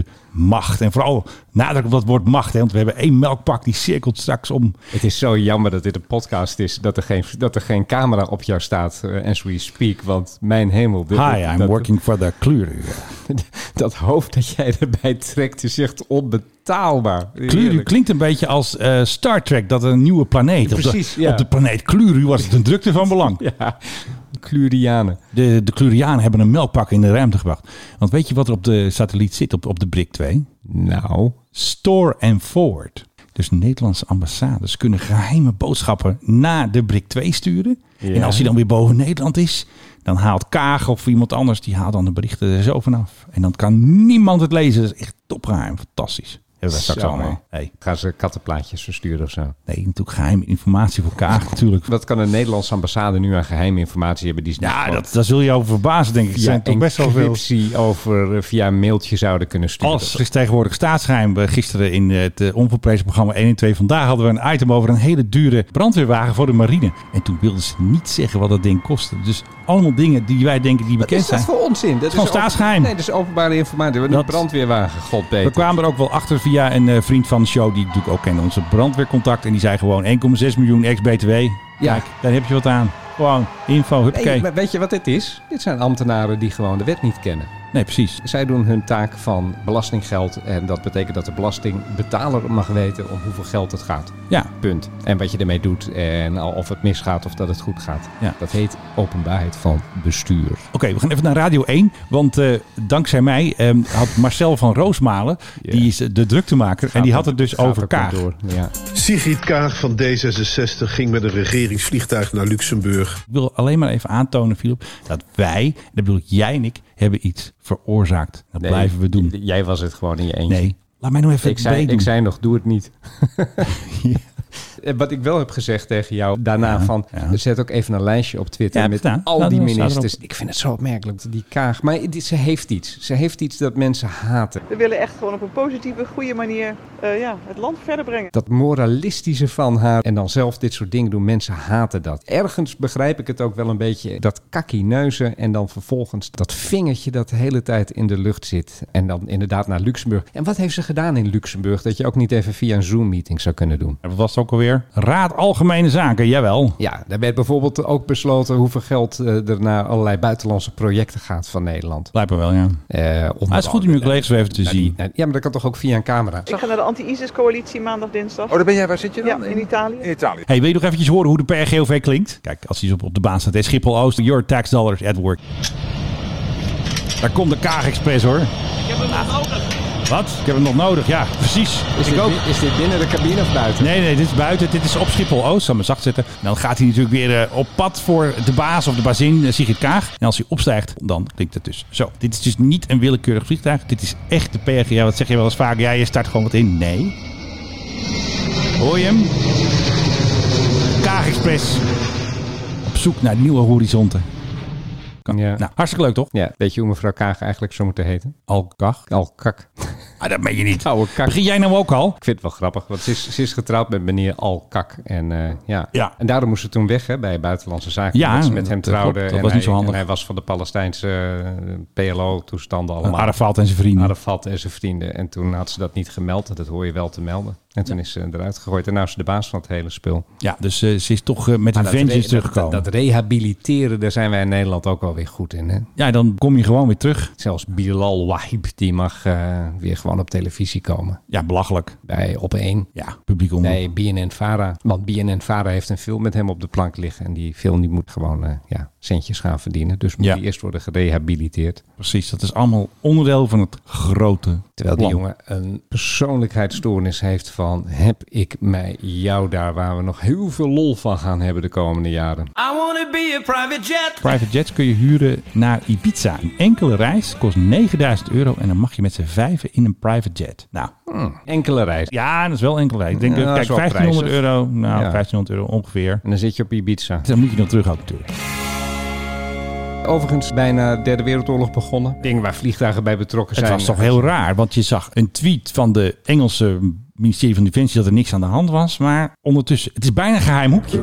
B: Ruimtemacht. En vooral nadruk op dat woord macht. Hè, want we hebben één melkpak die cirkelt straks om.
E: Het is zo jammer dat dit een podcast is, dat er geen, dat er geen camera op jou staat en as we speak. Want mijn hemel, dit,
B: Hi, I'm
E: dat,
B: working for the KLURU.
E: dat hoofd dat jij erbij trekt is echt onbetaalbaar.
B: Kluru
E: Heerlijk.
B: klinkt een beetje als eh, Star Trek, dat een nieuwe planeet.
E: Precies,
B: op, de,
E: ja.
B: op de planeet Kluru was het een drukte van belang.
E: Ja, Klurianen.
B: De, de Klurianen hebben een melkpak in de ruimte gebracht. Want weet je wat er op de satelliet zit, op, op de Brik 2?
E: Nou,
B: Store and forward. Dus Nederlandse ambassades kunnen geheime boodschappen naar de Brik 2 sturen. En als hij dan weer boven Nederland is, dan haalt Kaag of iemand anders, die haalt dan de berichten er zo vanaf. En dan kan niemand het lezen. Dat is echt topgeheim. Fantastisch. Hebben wij straks
E: Zo,
B: allemaal. Hey,
E: gaan ze kattenplaatjes versturen of zo?
B: nee, natuurlijk geheime informatie voor Kaag natuurlijk.
E: Wat kan een Nederlandse ambassade nu aan geheime informatie hebben? Die ze niet
B: Ja,
E: gewoon
B: dat, daar zul je over verbazen, denk ik. Er
E: via
B: zijn toch best wel veel...
E: encryptie over eh, via een mailtje zouden kunnen sturen.
B: Alles is tegenwoordig staatsgeheim. We Gisteren in het eh, onverprezen programma 1 en 2 vandaag hadden we een item over een hele dure brandweerwagen voor de marine. En toen wilden ze niet zeggen wat dat ding kostte. Dus allemaal dingen die wij denken die
E: Wat
B: bekend
E: is dat
B: zijn.
E: voor onzin? Dat
B: is gewoon
E: open-
B: staatsgeheim.
E: Nee, dat is openbare informatie. We hebben een
B: Dat-
E: brandweerwagen, god
B: We
E: beter.
B: kwamen er ook wel achter via een eh, vriend van de show, die ik natuurlijk ook kende, onze brandweercontact. En die zei gewoon 1,6 miljoen ex-BTW. Kijk, daar heb je wat aan. Gewoon, info,
E: Nee,
B: huppakee. Nee,
E: maar weet je wat dit is? Dit zijn ambtenaren die gewoon de wet niet kennen.
B: precies.
E: Zij doen hun taak van belastinggeld. En dat betekent dat de belastingbetaler mag weten om hoeveel geld het gaat.
B: Ja,
E: Punt. En wat je ermee doet en al of het misgaat of dat het goed gaat.
B: Ja.
E: Dat heet openbaarheid van bestuur.
B: Oké, we gaan even naar Radio 1. Want eh, dankzij mij ehm, had Marcel van Roosmalen, die is eh, de druktemaker, en die had het dus
E: Gaat
B: over
E: ook niet
B: Kaag.
E: door. Ja.
K: Sigrid Kaag van D66 ging met een regeringsvliegtuig naar Luxemburg.
B: Ik wil alleen maar even aantonen, Filip, dat wij, en dat bedoel ik jij en ik, hebben iets veroorzaakt. Dat
E: Nee,
B: blijven we doen.
E: j- Jij was het gewoon in je eentje.
B: Nee, laat mij nou even
E: Ik
B: het
E: zei,
B: meedoen.
E: ik zei nog, doe het niet. Eh, Wat ik wel heb gezegd tegen jou daarna van...
B: ja.
E: zet ook even een lijstje op Twitter
B: Ja,
E: met
B: staan.
E: al
B: Staat
E: die
B: erop, staat
E: ministers.
B: erop.
E: Ik vind het zo opmerkelijk, dat die Kaag. Maar die- ze heeft iets. Ze heeft iets dat mensen haten.
F: We willen echt gewoon op een positieve, goede manier eh, ja, het land verder brengen.
E: Dat moralistische van haar en dan zelf dit soort dingen doen. Mensen haten dat. Ergens begrijp ik het ook wel een beetje. Dat kakkie neuzen en dan vervolgens dat vingertje dat de hele tijd in de lucht zit. En dan inderdaad naar Luxemburg. En wat heeft ze gedaan in Luxemburg? Dat je ook niet even via een Zoom-meeting zou kunnen doen.
B: Wat was het ook alweer? Raad Algemene Zaken, jawel.
E: Ja, daar werd bijvoorbeeld ook besloten hoeveel geld eh, er naar allerlei buitenlandse projecten gaat van Nederland.
B: Blijkt me wel, ja.
E: Eh, onder
B: Maar het Ah, is goed om
E: andere-
B: je collega's weer even te
E: Nou, die-
B: zien.
E: nou, ja, maar dat kan toch ook via een camera?
F: Ik ga naar de anti-ISIS-coalitie maandag, dinsdag.
G: Oh, daar ben jij, waar zit je
F: Ja, in Italië.
B: Hey, wil je nog eventjes horen hoe de PRGOV klinkt? Kijk, als hij op, op de baan staat, hè, Schiphol Oost, your tax dollars at work. Daar komt de Kaag Express hoor. Ik heb hem nog nodig. Wat? Ik heb hem nog nodig, ja, precies.
E: Is
B: ik
E: dit,
B: ook.
E: bi- is dit binnen de cabine of buiten?
B: Nee, nee, dit is buiten. Dit is op Schiphol Oost. Zal maar zacht zetten. En dan gaat hij natuurlijk weer eh, op pad voor de baas of de bazin, eh, Sigrid Kaag. En als hij opstijgt, dan klinkt het dus zo. Dit is dus niet een willekeurig vliegtuig. Dit is echt de PRG. Ja, wat zeg je wel eens vaak? Ja, je start gewoon wat in. Nee. Hoor je hem? Kaag Express. Op zoek naar nieuwe horizonten. Kan.
E: Ja.
B: Nou, hartstikke leuk toch?
E: Ja, weet je hoe mevrouw Kaag eigenlijk zou moeten heten?
B: Alkach.
E: Al kak.
B: Ah, dat meen je niet.
E: Oude kak.
B: Begin jij nou ook al?
E: Ik vind het wel grappig, want ze is, ze is getrouwd met meneer Al Kak. En, eh, ja.
B: Ja.
E: en daarom moest ze toen weg hè, bij Buitenlandse Zaken.
B: Ja,
E: dat ze met hem
B: dat klopt.
E: trouwde.
B: Dat
E: en
B: was niet zo
E: hij-
B: handig.
E: En hij was van de Palestijnse eh, PLO-toestanden allemaal.
B: Arafat en zijn vrienden.
E: Arafat en zijn vrienden. En toen had ze dat niet gemeld. Dat hoor je wel te melden. En toen is ze eruit gegooid. En nou is ze de baas van het hele spul. Nou,
B: Ja, dus eh, ze is toch eh, met een
E: dat,
B: vengeance
E: re- dat-
B: teruggekomen.
E: dat rehabiliteren, daar zijn wij in Nederland ook wel weer goed in. Hè?
B: ja, dan kom je gewoon weer terug.
E: Zelfs Bilal Wahib, die mag eh, weer gewoon op televisie komen.
B: Ja, belachelijk.
E: Bij Op 1.
B: Ja, publiek omroep.
E: Nee, BNN-Vara. Want BNN-Vara heeft een film met hem op de plank liggen. En die film die moet gewoon eh, ja, centjes gaan verdienen. Dus moet
B: Ja.
E: die eerst worden gerehabiliteerd.
B: Precies, dat is allemaal onderdeel van het grote.
E: Terwijl die
B: plan.
E: jongen een persoonlijkheidsstoornis heeft van... heb ik mij jou daar waar we nog heel veel lol van gaan hebben de komende jaren. Ah,
G: I wanna be a private jet.
B: Private jets kun je huren naar Ibiza. Een enkele reis kost 9000 euro en dan mag je met z'n vijven in een private jet. Nou,
E: Enkele reis.
B: ja, dat is wel enkele reis. Ik denk,
E: Ja,
B: eh,
E: dat
B: kijk,
E: is wel
B: 1500
E: prijzig.
B: euro, nou,
E: Ja.
B: 1500 euro ongeveer.
E: En dan zit je op Ibiza.
B: Dan moet je nog terug ook natuurlijk.
E: Overigens bijna Derde Wereldoorlog begonnen. Dingen waar vliegtuigen bij betrokken
B: Het
E: zijn.
B: was toch heel raar, want je zag een tweet van de Engelse ministerie van Defensie dat er niks aan de hand was. Maar ondertussen, het is bijna een geheim hoekje.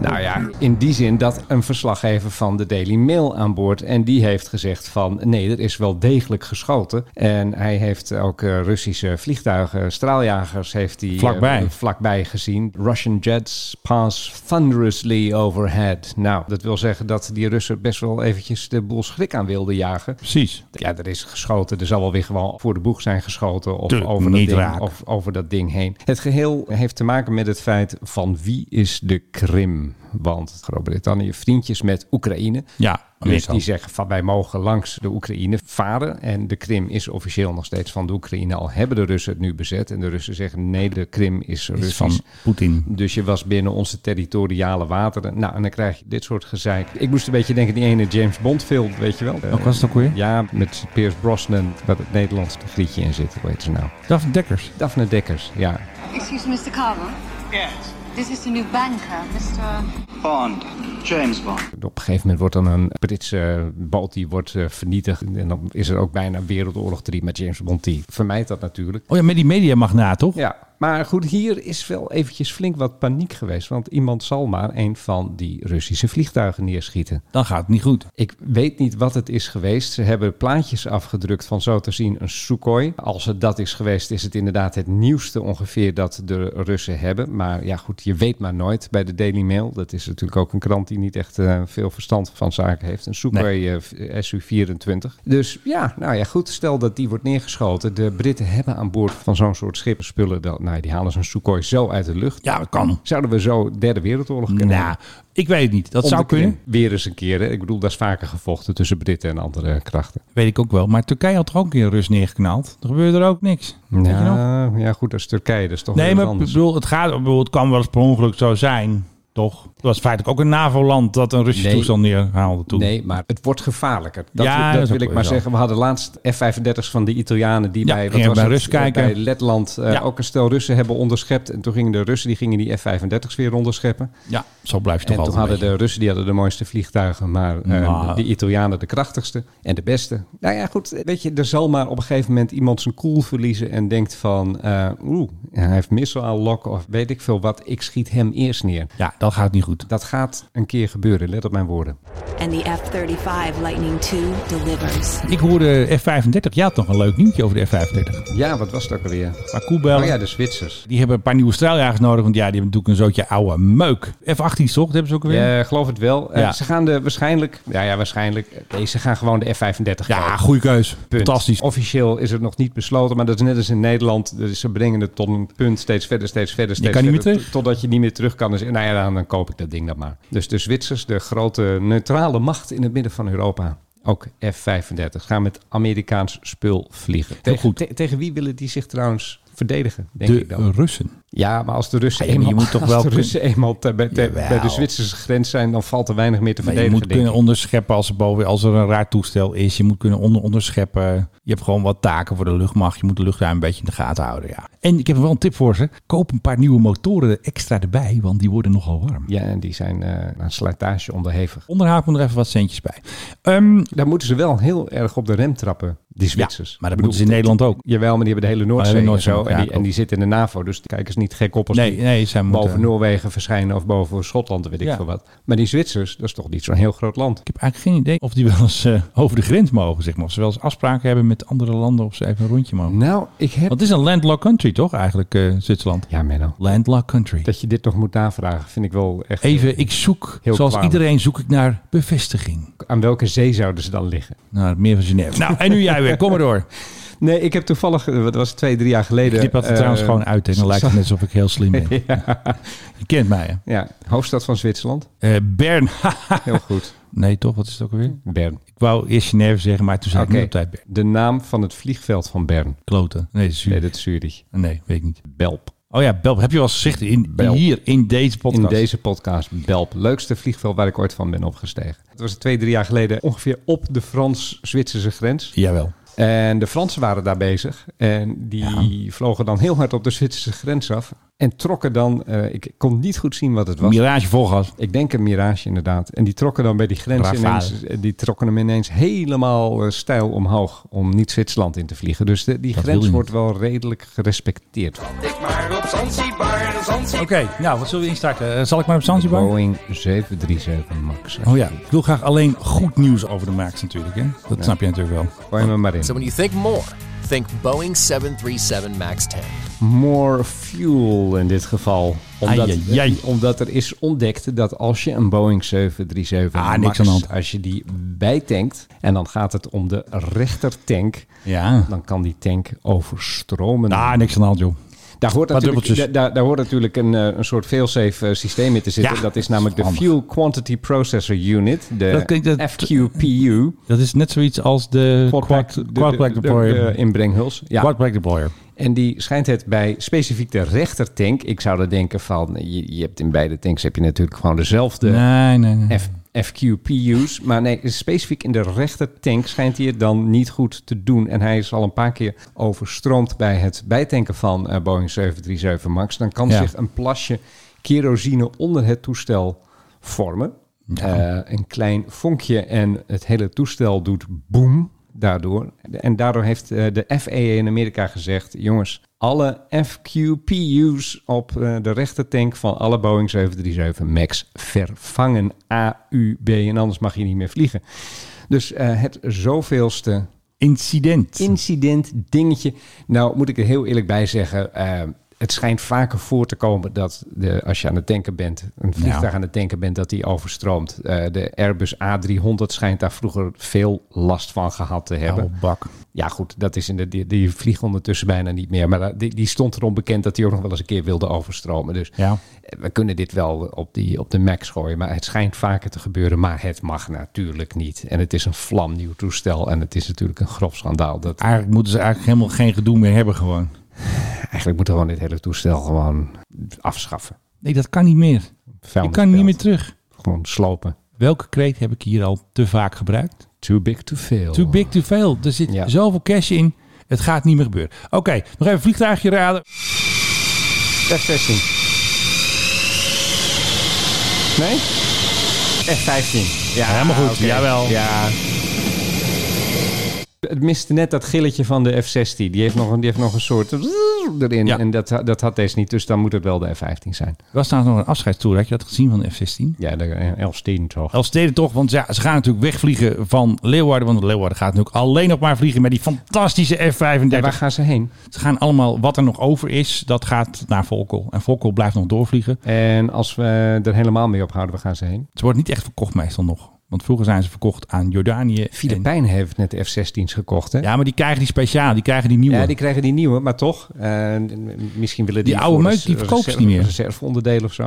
E: Nou ja, in die zin dat een verslaggever van de Daily Mail aan boord. En die heeft gezegd van nee, er is wel degelijk geschoten. En hij heeft ook eh, Russische vliegtuigen, straaljagers heeft hij eh,
B: Vlakbij.
E: vlakbij gezien. Russian jets pass thunderously overhead. Nou, dat wil zeggen dat die Russen best wel eventjes de boel schrik aan wilden jagen.
B: Precies.
E: Ja, er is geschoten. Er zal wel weer gewoon voor de boeg zijn geschoten. Of,
B: Tuurlijk,
E: over dat,
B: niet
E: ding,
B: raken.
E: of over dat ding heen. Het geheel heeft te maken met het feit van wie is de Krim? Want Groot-Brittannië vriendjes met Oekraïne.
B: Ja,
E: Dus
B: meestal.
E: die zeggen van wij mogen langs de Oekraïne varen. En de Krim is officieel nog steeds van de Oekraïne. Al hebben de Russen het nu bezet. En de Russen zeggen nee, de Krim is
B: is
E: Russisch.
B: van Poetin.
E: Dus je was binnen onze territoriale wateren. Nou, en dan krijg je dit soort gezeik. Ik moest een beetje denken aan die ene James Bond film, weet je wel. Eh,
B: Ook was het ook weer?
E: ja, met Piers Brosnan, waar het Nederlandse grietje in zit. Hoe heet ze nou?
B: Daphne Dekkers.
E: Daphne Dekkers, ja.
C: Excuse me, Mr. Carver.
G: Yes.
C: This is the new banker, Mr.
G: Bond. James Bond.
E: Op een gegeven moment wordt dan een Britse boot die wordt eh, vernietigd. En dan is er ook bijna Wereldoorlog 3 met James Bond. Die vermijdt dat natuurlijk.
B: Oh ja, met die mediamagnaat, toch?
E: Ja, maar goed, hier is wel eventjes flink wat paniek geweest. Want iemand zal maar een van die Russische vliegtuigen neerschieten.
B: Dan gaat het niet goed.
E: Ik weet niet wat het is geweest. Ze hebben plaatjes afgedrukt van zo te zien een Sukhoi. Als het dat is geweest, is het inderdaad het nieuwste ongeveer dat de Russen hebben. Maar ja, goed, je weet maar nooit bij de Daily Mail. Dat is natuurlijk ook een krant die niet echt eh, veel verstand van zaken heeft. Een Sukhoi eh, SU-24. Dus ja, nou ja, goed. Stel dat die wordt neergeschoten. De Britten hebben aan boord van zo'n soort schip spullen. Dat, nou, die halen zo'n Sukhoi zo uit de lucht.
B: Ja, dat kan.
E: Zouden we zo Derde Wereldoorlog kunnen hebben?
B: Nou, ik weet het niet. Dat
E: Om
B: zou
E: de Krim.
B: kunnen.
E: Weer eens een keer. Hè? Ik bedoel, daar is vaker gevochten tussen Britten en andere krachten.
B: Weet ik ook wel. Maar Turkije had toch ook een keer Rus neergeknald. Er gebeurde er ook niks. Weet je nog?
E: Ja, ja, goed, dat is Turkije. Dat is toch
B: Nee,
E: weer
B: maar
E: wat
B: ik
E: anders.
B: bedoel, het, gaat, ik bedoel, het kan wel eens per ongeluk zo zijn. Toch? Het was feitelijk ook een NAVO-land dat een Russisch
E: Nee.
B: toestand neerhaalde toen.
E: Nee, maar het wordt gevaarlijker. Dat,
B: Ja,
E: wil-
B: dat
E: dat
B: is ook
E: wil ik maar
B: wel zo.
E: zeggen. We hadden laatst F-35's van de Italianen die
B: Ja,
E: bij,
B: gingen bij
E: het?
B: Rus kijken.
E: bij Letland eh,
B: Ja.
E: ook een stel Russen hebben onderschept. En toen gingen de Russen die, gingen die F-35's weer onderscheppen.
B: Ja, zo blijf je toch
E: En toen
B: altijd een
E: hadden
B: beetje.
E: de Russen die hadden de mooiste vliegtuigen, maar eh,
B: Nou.
E: de Italianen de krachtigste en de beste. Nou ja, goed, weet je, er zal maar op een gegeven moment iemand zijn koel verliezen en denkt van, eh, oeh, hij heeft missile lock of weet ik veel wat, ik schiet hem eerst neer.
B: Ja, dan gaat het niet goed.
E: Dat gaat een keer gebeuren, let op mijn woorden.
L: And the F 35 Lightning II delivers.
B: Ik hoorde F-35. Ja, toch een leuk nieuwtje over de F-35.
E: Ja, wat was het ook alweer?
B: Maar Koebel,
E: Oh ja, de Zwitsers.
B: die hebben een paar nieuwe straaljagers nodig. Want ja, die hebben natuurlijk een zootje oude meuk. F-18 toch? Dat hebben ze ook weer.
E: Ja, geloof het wel. Eh,
B: Ja.
E: ze gaan de waarschijnlijk, ja, ja waarschijnlijk, deze gaan gewoon de F-35
B: Ja,
E: kopen.
B: goede keus.
E: Punt. Oh,
B: Fantastisch.
E: Officieel is het nog niet besloten, maar dat is net als in Nederland. Dus ze brengen het tot een punt steeds verder, steeds verder, steeds
B: kan niet
E: verder.
B: meer terug.
E: tot- Totdat je niet meer terug kan. Dus, nou ja, dan, dan koop ik dat ding dan maar. Dus de Zwitsers, de grote neutrale macht in het midden van Europa. Ook F-35. Gaan met Amerikaans spul vliegen. Tegen,
B: goed.
E: te- tegen wie willen die zich trouwens verdedigen, denk
B: De
E: ik dan?
B: Russen.
E: Ja, maar als de Russen
B: Ja, maar je
E: eenmaal,
B: moet toch
E: als
B: wel
E: de Russen eenmaal te- bij, te-
B: Jawel.
E: bij de Zwitserse grens zijn, dan valt er weinig meer te
B: Maar je moet
E: verdedigen. denk
B: kunnen onderscheppen als er, boven, als er een raar toestel is. Je moet kunnen onder, onderscheppen. Je hebt gewoon wat taken voor de luchtmacht. Je moet de luchtruim een beetje in de gaten houden. Ja. En ik heb wel een tip voor ze. Koop een paar nieuwe motoren extra erbij, want die worden nogal warm.
E: ik. Ja, en die zijn eh aan slijtage onderhevig.
B: Onderhoud moet er even wat centjes bij. Ehm,
E: Daar moeten ze wel heel erg op de rem trappen, die Zwitsers.
B: maar dat
E: Ik
B: moeten ze in
E: bedoel,
B: Nederland ook.
E: Jawel, maar die hebben de hele Noordzee,
B: Maar de Noordzee
E: en
B: ook,
E: zo.
B: ja,
E: en, die, en
B: ook.
E: die zitten in de NAVO, dus kijk eens niet gek op als
B: Nee,
E: die
B: nee, zij moeten-
E: boven Noorwegen verschijnen of boven Schotland, weet ik
B: Ja.
E: veel wat. Maar die Zwitsers, dat is toch niet zo'n heel groot land.
B: Ik heb eigenlijk geen idee of die wel eens eh, over de grens mogen, zeg maar. Of ze wel eens afspraken hebben met andere landen of ze even een rondje mogen.
E: Nou, ik heb...
B: Want het is een landlocked country, toch? Eigenlijk, eh, Zwitserland.
E: Ja, Menno.
B: Landlocked country.
E: Dat je dit nog moet navragen, vind ik wel echt...
B: Even, ik zoek,
E: Heel
B: zoals
E: kwalijk.
B: iedereen zoek ik naar bevestiging.
E: Aan welke zee zouden ze dan liggen?
B: Naar het meer van Genève. Nou, en nu jij weer. Kom maar door.
E: Nee, ik heb toevallig, eh, wat was het, twee, drie jaar geleden...
B: Knip dat er
E: eh,
B: trouwens gewoon uit. En dan lijkt het net alsof ik heel slim ben.
E: ja,
B: Je kent mij,
E: ja, hoofdstad van Zwitserland.
B: hè? Eh, Bern.
E: Heel goed.
B: nee, toch? Wat is het ook alweer?
E: Bern.
B: Ik wou eerst Genève zeggen, maar toen zei ik niet op tijd Bern.
E: De naam van het vliegveld van Bern.
B: Kloten. Nee, dat is
E: Nee,
B: Zurich.
E: dat is Zurich.
B: Nee, weet ik niet.
E: Belp.
B: Oh ja, Belp. Heb je wel eens gezegd in,
E: Belp.
B: hier in deze podcast?
E: In deze podcast, Belp. Leukste vliegveld waar ik ooit van ben opgestegen. Het was twee, drie jaar geleden ongeveer op de Frans-Zwitserse grens.
B: Jawel.
E: En de Fransen waren daar bezig. En die vlogen dan heel hard op de Zwitserse grens af. En trokken dan, eh, ik kon niet goed zien wat het was.
B: Mirage volgas.
E: Ik denk een Mirage inderdaad. En die trokken dan bij die grens
B: Rafale.
E: ineens, eh, die trokken hem ineens helemaal eh, stijl omhoog om niet Zwitserland in te vliegen. Dus de- die
B: Dat wil
E: grens
B: je
E: wordt wel redelijk gerespecteerd.
B: Oké, nou, wat zullen we instarten? Eh, zal ik maar op Zanzibar?
E: Boeing 737 MAX.
B: Oh ja, ik wil graag alleen goed nieuws over de Max natuurlijk. Hè? Dat snap je natuurlijk wel.
E: Gooi me maar in.
M: So when you think more, think Boeing 737 MAX 10.
E: More fuel in dit geval. Omdat,
B: Ai, ai, ai.
E: omdat er is ontdekt dat als je een Boeing 737
B: Ah, niks
E: MAX,
B: aan de hand.
E: als je die bijtankt en dan gaat het om de rechtertank,
B: Ja.
E: dan kan die tank overstromen.
B: Ah, niks aan de hand, joh.
E: Daar hoort,
B: Paar
E: natuurlijk,
B: dubbeltjes.
E: da- daar, daar hoort natuurlijk een, eh, een soort failsafe eh, systeem in te zitten.
B: Ja,
E: dat is namelijk de
B: handig.
E: Fuel Quantity Processor Unit, de
B: Dat klinkt- dat-
E: FQPU.
B: Dat is net zoiets als de quad
E: de- de-
B: quad
E: de-
B: black
E: de-
B: deployer.
E: de inbrenghuls. Ja.
B: Quad black deployer.
E: En die schijnt het bij specifiek de rechtertank. Ik zou dan denken van, je, je hebt in beide tanks heb je natuurlijk gewoon dezelfde
B: nee, nee, nee.
E: F, FQPU's. Maar nee, specifiek in de rechtertank schijnt hij het dan niet goed te doen. En hij is al een paar keer overstroomd bij het bijtanken van eh, Boeing 737 MAX. Dan kan
B: Ja.
E: zich een plasje kerosine onder het toestel vormen. Eh, een klein vonkje en het hele toestel doet boem daardoor. En daardoor heeft eh, de FAA in Amerika gezegd... jongens, alle FQPU's op eh, de rechtertank van alle Boeing 737 MAX vervangen AUB. En anders mag je niet meer vliegen. Dus eh, het zoveelste
B: Incident.
E: incident, dingetje. Nou, moet ik er heel eerlijk bij zeggen. eh, het schijnt vaker voor te komen dat de, als je aan het tanken bent, een vliegtuig
B: Ja.
E: aan het tanken bent, dat die overstroomt. Eh, de Airbus A300 schijnt daar vroeger veel last van gehad te hebben.
B: Oude bak.
E: Ja, goed, dat is in de, die, die vliegen ondertussen bijna niet meer. Maar dat- die, die stond erom bekend dat die ook nog wel eens een keer wilde overstromen. Dus
B: Ja.
E: eh, we kunnen dit wel op, die, op de max gooien. Maar het schijnt vaker te gebeuren. Maar het mag natuurlijk niet. En het is een vlamnieuw toestel. En het is natuurlijk een grof schandaal. Dat,
B: Eigenlijk moeten ze eigenlijk helemaal geen gedoe meer hebben gewoon.
E: Eigenlijk moeten we gewoon dit hele toestel gewoon afschaffen.
B: Nee, dat kan niet meer. Ik kan niet meer terug.
E: Gewoon slopen.
B: Welke kreet heb ik hier al te vaak gebruikt?
E: Too big to fail.
B: Too big to fail. Er zit
E: Ja.
B: zoveel cash in. Het gaat niet meer gebeuren. Oké, nog even vliegtuigje raden.
E: F-16. Nee? F-15. Ja,
B: helemaal goed.
E: oké.
B: Jawel.
E: Ja. Het miste net dat gilletje van de F-16. Die heeft nog een, die heeft nog een soort erin.
B: Ja.
E: En dat, dat had deze niet. Dus dan moet het wel de F-15 zijn.
B: Er was trouwens nog een afscheidstoer. Had je dat gezien van de F-16?
E: Ja, de F-10 toch.
B: Als steden toch, want ja, ze gaan natuurlijk wegvliegen van Leeuwarden. Want Leeuwarden gaat natuurlijk alleen nog maar vliegen met die fantastische F-35.
E: En waar gaan ze heen?
B: Ze gaan allemaal, wat er nog over is, dat gaat naar Volkel. En Volkel blijft nog doorvliegen.
E: En als we er helemaal mee ophouden, waar gaan ze heen?
B: Ze worden niet echt verkocht meestal nog. Want vroeger zijn ze verkocht aan Jordanië. en-
E: Filipijnen heeft net de F-16's gekocht, hè?
B: Ja, maar die krijgen die speciaal. Die krijgen die nieuwe.
E: Ja, die krijgen die nieuwe, maar toch. eh, misschien willen die,
B: Die oude
E: voor
B: meuk,
E: res-
B: die verkopen ze
E: reserve-
B: niet meer.
E: Reserveonderdelen of zo.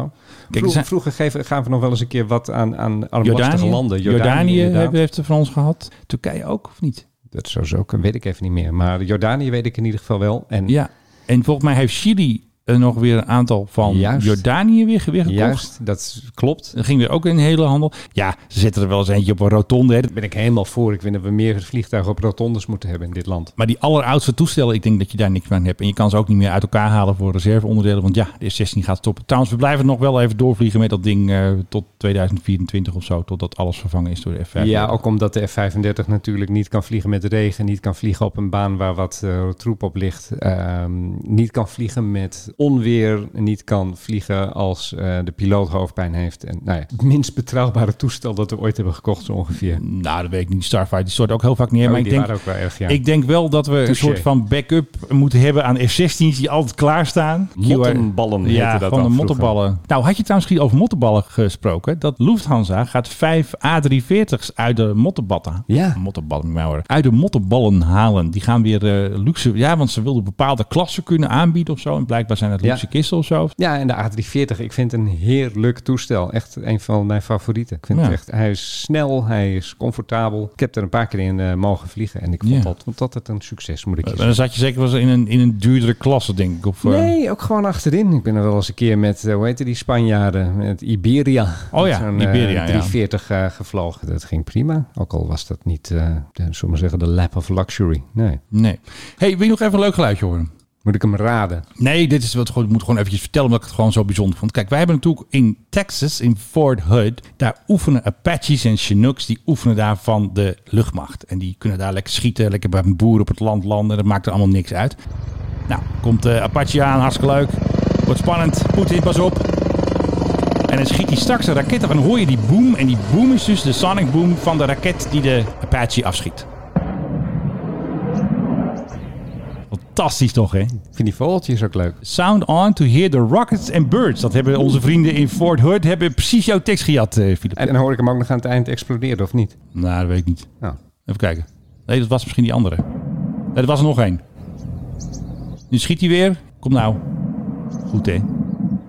B: er
E: Vro-
B: zijn-
E: Vroeger geven, gaven we nog wel eens een keer wat aan, aan armlastige
B: Jordanië,
E: landen.
B: Jordanië
E: inderdaad.
B: heeft, heeft er van ons gehad. Turkije ook, of niet?
E: Dat zou zo kunnen, weet ik even niet meer. Maar Jordanië weet ik in ieder geval wel. En
B: Ja. En volgens mij heeft Chili eh, nog weer een aantal van
E: Juist.
B: Jordanië weer, weer gekocht.
E: Juist, dat klopt.
B: Er ging weer ook in de hele handel. Ja, ze zetten er wel eens eentje op een rotonde. Hè. Daar
E: ben ik helemaal voor. Ik vind dat we meer vliegtuigen op rotondes moeten hebben in dit land.
B: Maar die alleroudste toestellen, ik denk dat je daar niks meer aan hebt. En je kan ze ook niet meer uit elkaar halen voor reserveonderdelen. Want ja, de S16 gaat stoppen. Trouwens, we blijven nog wel even doorvliegen met dat ding eh, tot 2024 of zo. Totdat alles vervangen is door de F5.
E: Ja, ook omdat de F-35 natuurlijk niet kan vliegen met regen, niet kan vliegen op een baan waar wat eh, troep op ligt, ehm, niet kan vliegen met onweer, niet kan vliegen als eh, de piloot hoofdpijn heeft. En, nou ja, het minst betrouwbare toestel dat we ooit hebben gekocht zo ongeveer.
B: Nou, dat weet ik niet. Starfighter die stort ook heel vaak neer.
E: Oh,
B: maar
E: die
B: ik denk,
E: waren ook wel erg, ja.
B: ik denk wel dat we een
E: Touché.
B: soort van backup moeten hebben aan F-16's die altijd klaarstaan.
E: Mottenballen heette
B: ja,
E: dat
B: van
E: dan
B: de
E: vroeger.
B: mottenballen. Nou, had je trouwens misschien over mottenballen gesproken? Dat Lufthansa gaat vijf A340's uit de mottenbatten.
E: Ja.
B: Mottenballen, moet ik maar horen. Uit de mottenballen halen. Die gaan weer eh, luxe. Ja, want ze wilden bepaalde klassen kunnen aanbieden of zo. En blijkbaar zijn het
E: Ja.
B: luxe kisten of zo.
E: Ja, en de A340, ik vind het een heerlijk toestel. Echt een van mijn favorieten. Ik vind
B: Ja.
E: het echt, hij is snel, hij is comfortabel. Ik heb er een paar keer in eh, mogen vliegen en ik vond
B: Ja.
E: dat, vond dat het een succes, moet ik je
B: En
E: zeggen.
B: dan zat je zeker wel eens in een, in een duurdere klasse, denk ik. Of, eh,
E: Nee, ook gewoon achterin. Ik ben er wel eens een keer met, eh, hoe heette die Spanjaarden? Met Iberia.
B: Oh
E: Met
B: ja,
E: zo'n, eh,
B: Iberia, ja.
E: 340 eh, gevlogen. Dat ging prima. Ook al was dat niet, eh de, zullen we zeggen, de lap of luxury. Nee.
B: nee. hey, wil je nog even een leuk geluidje horen?
E: Moet ik hem raden?
B: Nee, dit is wat ik moet gewoon eventjes vertellen, omdat ik het gewoon zo bijzonder vond. Kijk, wij hebben natuurlijk in Texas, in Fort Hood, daar oefenen Apaches en Chinooks, die oefenen daar van de luchtmacht. En die kunnen daar lekker schieten, lekker bij een boer op het land landen, dat maakt er allemaal niks uit. Nou, komt de Apache aan, hartstikke leuk. Wordt spannend, Poetin, pas op. En dan schiet hij straks een raket af en dan hoor je die boom. En die boom is dus de sonic boom van de raket die de Apache afschiet. Fantastisch toch, hè?
E: Ik vind die vogeltjes ook leuk.
B: Sound on to hear the rockets and birds. Dat hebben onze vrienden in Fort Hood hebben precies jouw tekst gejat, eh, Filip.
E: En dan hoor ik hem ook nog aan het eind exploderen, of niet?
B: Nou, dat weet ik niet.
E: Nou,
B: Even kijken. Nee, dat was misschien die andere. Nee, er was er nog één. Nu schiet hij weer. Kom nou. Goed, hè?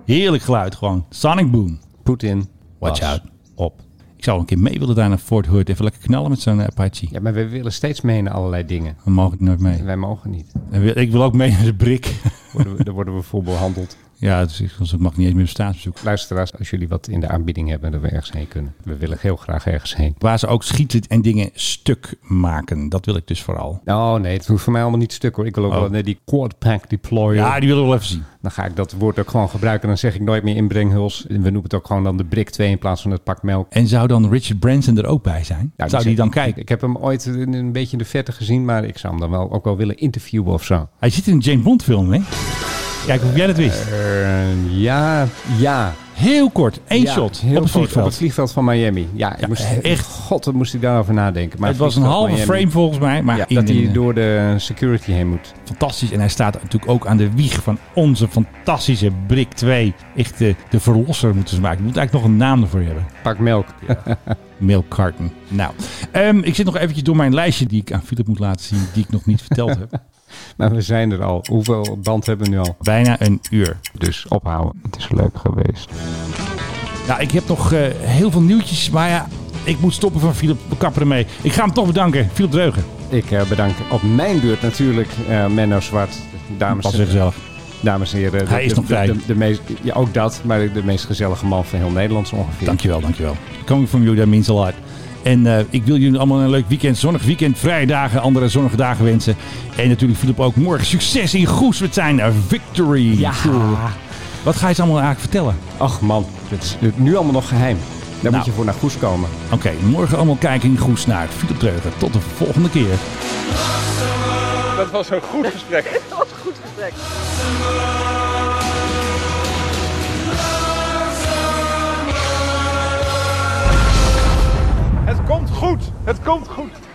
B: Heerlijk geluid gewoon. Sonic Boom.
E: Poetin.
B: Watch
E: was
B: out. Op. Ik zou een keer mee willen daar naar Fort Hood. Even lekker knallen met zo'n eh, Apache.
E: Ja, maar we willen steeds mee naar allerlei dingen.
B: Dan mag ik nooit mee.
E: En wij mogen niet.
B: En wil- Ik wil ook mee naar de Brik.
E: Worden we, daar worden we voor behandeld.
B: Ja, het is- ik mag niet eens meer op staatsbezoek.
E: Luisteraars, als jullie wat in de aanbieding hebben, dat we ergens heen kunnen. We willen heel graag ergens heen.
B: Waar ze ook schieten en dingen stuk maken. Dat wil ik dus vooral.
E: Oh nee, het hoeft voor mij allemaal niet stuk hoor. Ik wil ook
B: Oh.
E: wel naar die quad pack deployer.
B: Ja, die willen we wel even zien.
E: Dan ga ik dat woord ook gewoon gebruiken. Dan zeg ik nooit meer inbrenghuls. We noemen het ook gewoon dan de Brik 2 in plaats van het pak melk.
B: En zou dan Richard Branson er ook bij zijn?
E: Ja,
B: zou
E: zit-
B: die dan
E: ik-
B: kijken?
E: Ik heb hem ooit in- een beetje in de verte gezien, maar ik zou hem dan wel ook wel willen interviewen of zo.
B: Hij zit in een James Bond film, hè? Kijk of jij dat wist.
E: Eh, ja, ja.
B: Heel kort, één
E: Ja,
B: shot
E: heel
B: op het
E: kort, Op
B: vliegveld.
E: het vliegveld van Miami. Ja, ik
B: Ja, eh,
E: moest,
B: echt.
E: echt. God, wat moest ik daarover nadenken. Maar
B: het was een
E: vliegveld
B: halve
E: Miami,
B: frame volgens mij, maar
E: ja,
B: in
E: dat hij
B: een- eh,
E: door de security heen moet.
B: fantastisch. En hij staat natuurlijk ook aan de wieg van onze fantastische Brick 2. Echt de, de verlosser moeten ze maken. Je moet eigenlijk nog een naam ervoor hebben.
E: Pak melk.
B: Milk Carton. Nou, ehm, ik zit nog eventjes door mijn lijstje die ik aan Philip moet laten zien, die ik nog niet verteld heb.
E: Maar we zijn er al. Hoeveel band hebben we nu al?
B: Bijna een uur.
E: Dus ophouden. Het is leuk geweest.
B: Nou, ik heb nog eh, heel veel nieuwtjes, maar ja, ik moet stoppen van Philip. We kappen ermee. Ik ga hem toch bedanken, Philip Dreugen.
E: Ik eh, bedank op mijn beurt natuurlijk eh, Menno Zwart. Dames,
B: Pas weer gezelf.
E: dames en heren. de-
B: Hij is
E: de-
B: nog
E: de-
B: vrij.
E: De, de meest, ja, ook dat, maar de meest gezellige man van heel Nederland ongeveer.
B: Dankjewel, dankjewel. Coming from you, that means a lot. En eh, ik wil jullie allemaal een leuk weekend, zonnig weekend, vrije dagen, andere zonnige dagen wensen. En natuurlijk Philip ook morgen succes in Goes met zijn eh, Victory Tour. Wat ga je ze allemaal eigenlijk vertellen?
E: Ach man, het is nu allemaal nog geheim. Daar
B: Nou.
E: moet je voor naar Goes komen.
B: Oké, morgen allemaal kijken in Goes naar Philip Dreugen. Tot de volgende keer.
J: Dat was een goed gesprek.
N: Het komt goed. Het komt goed.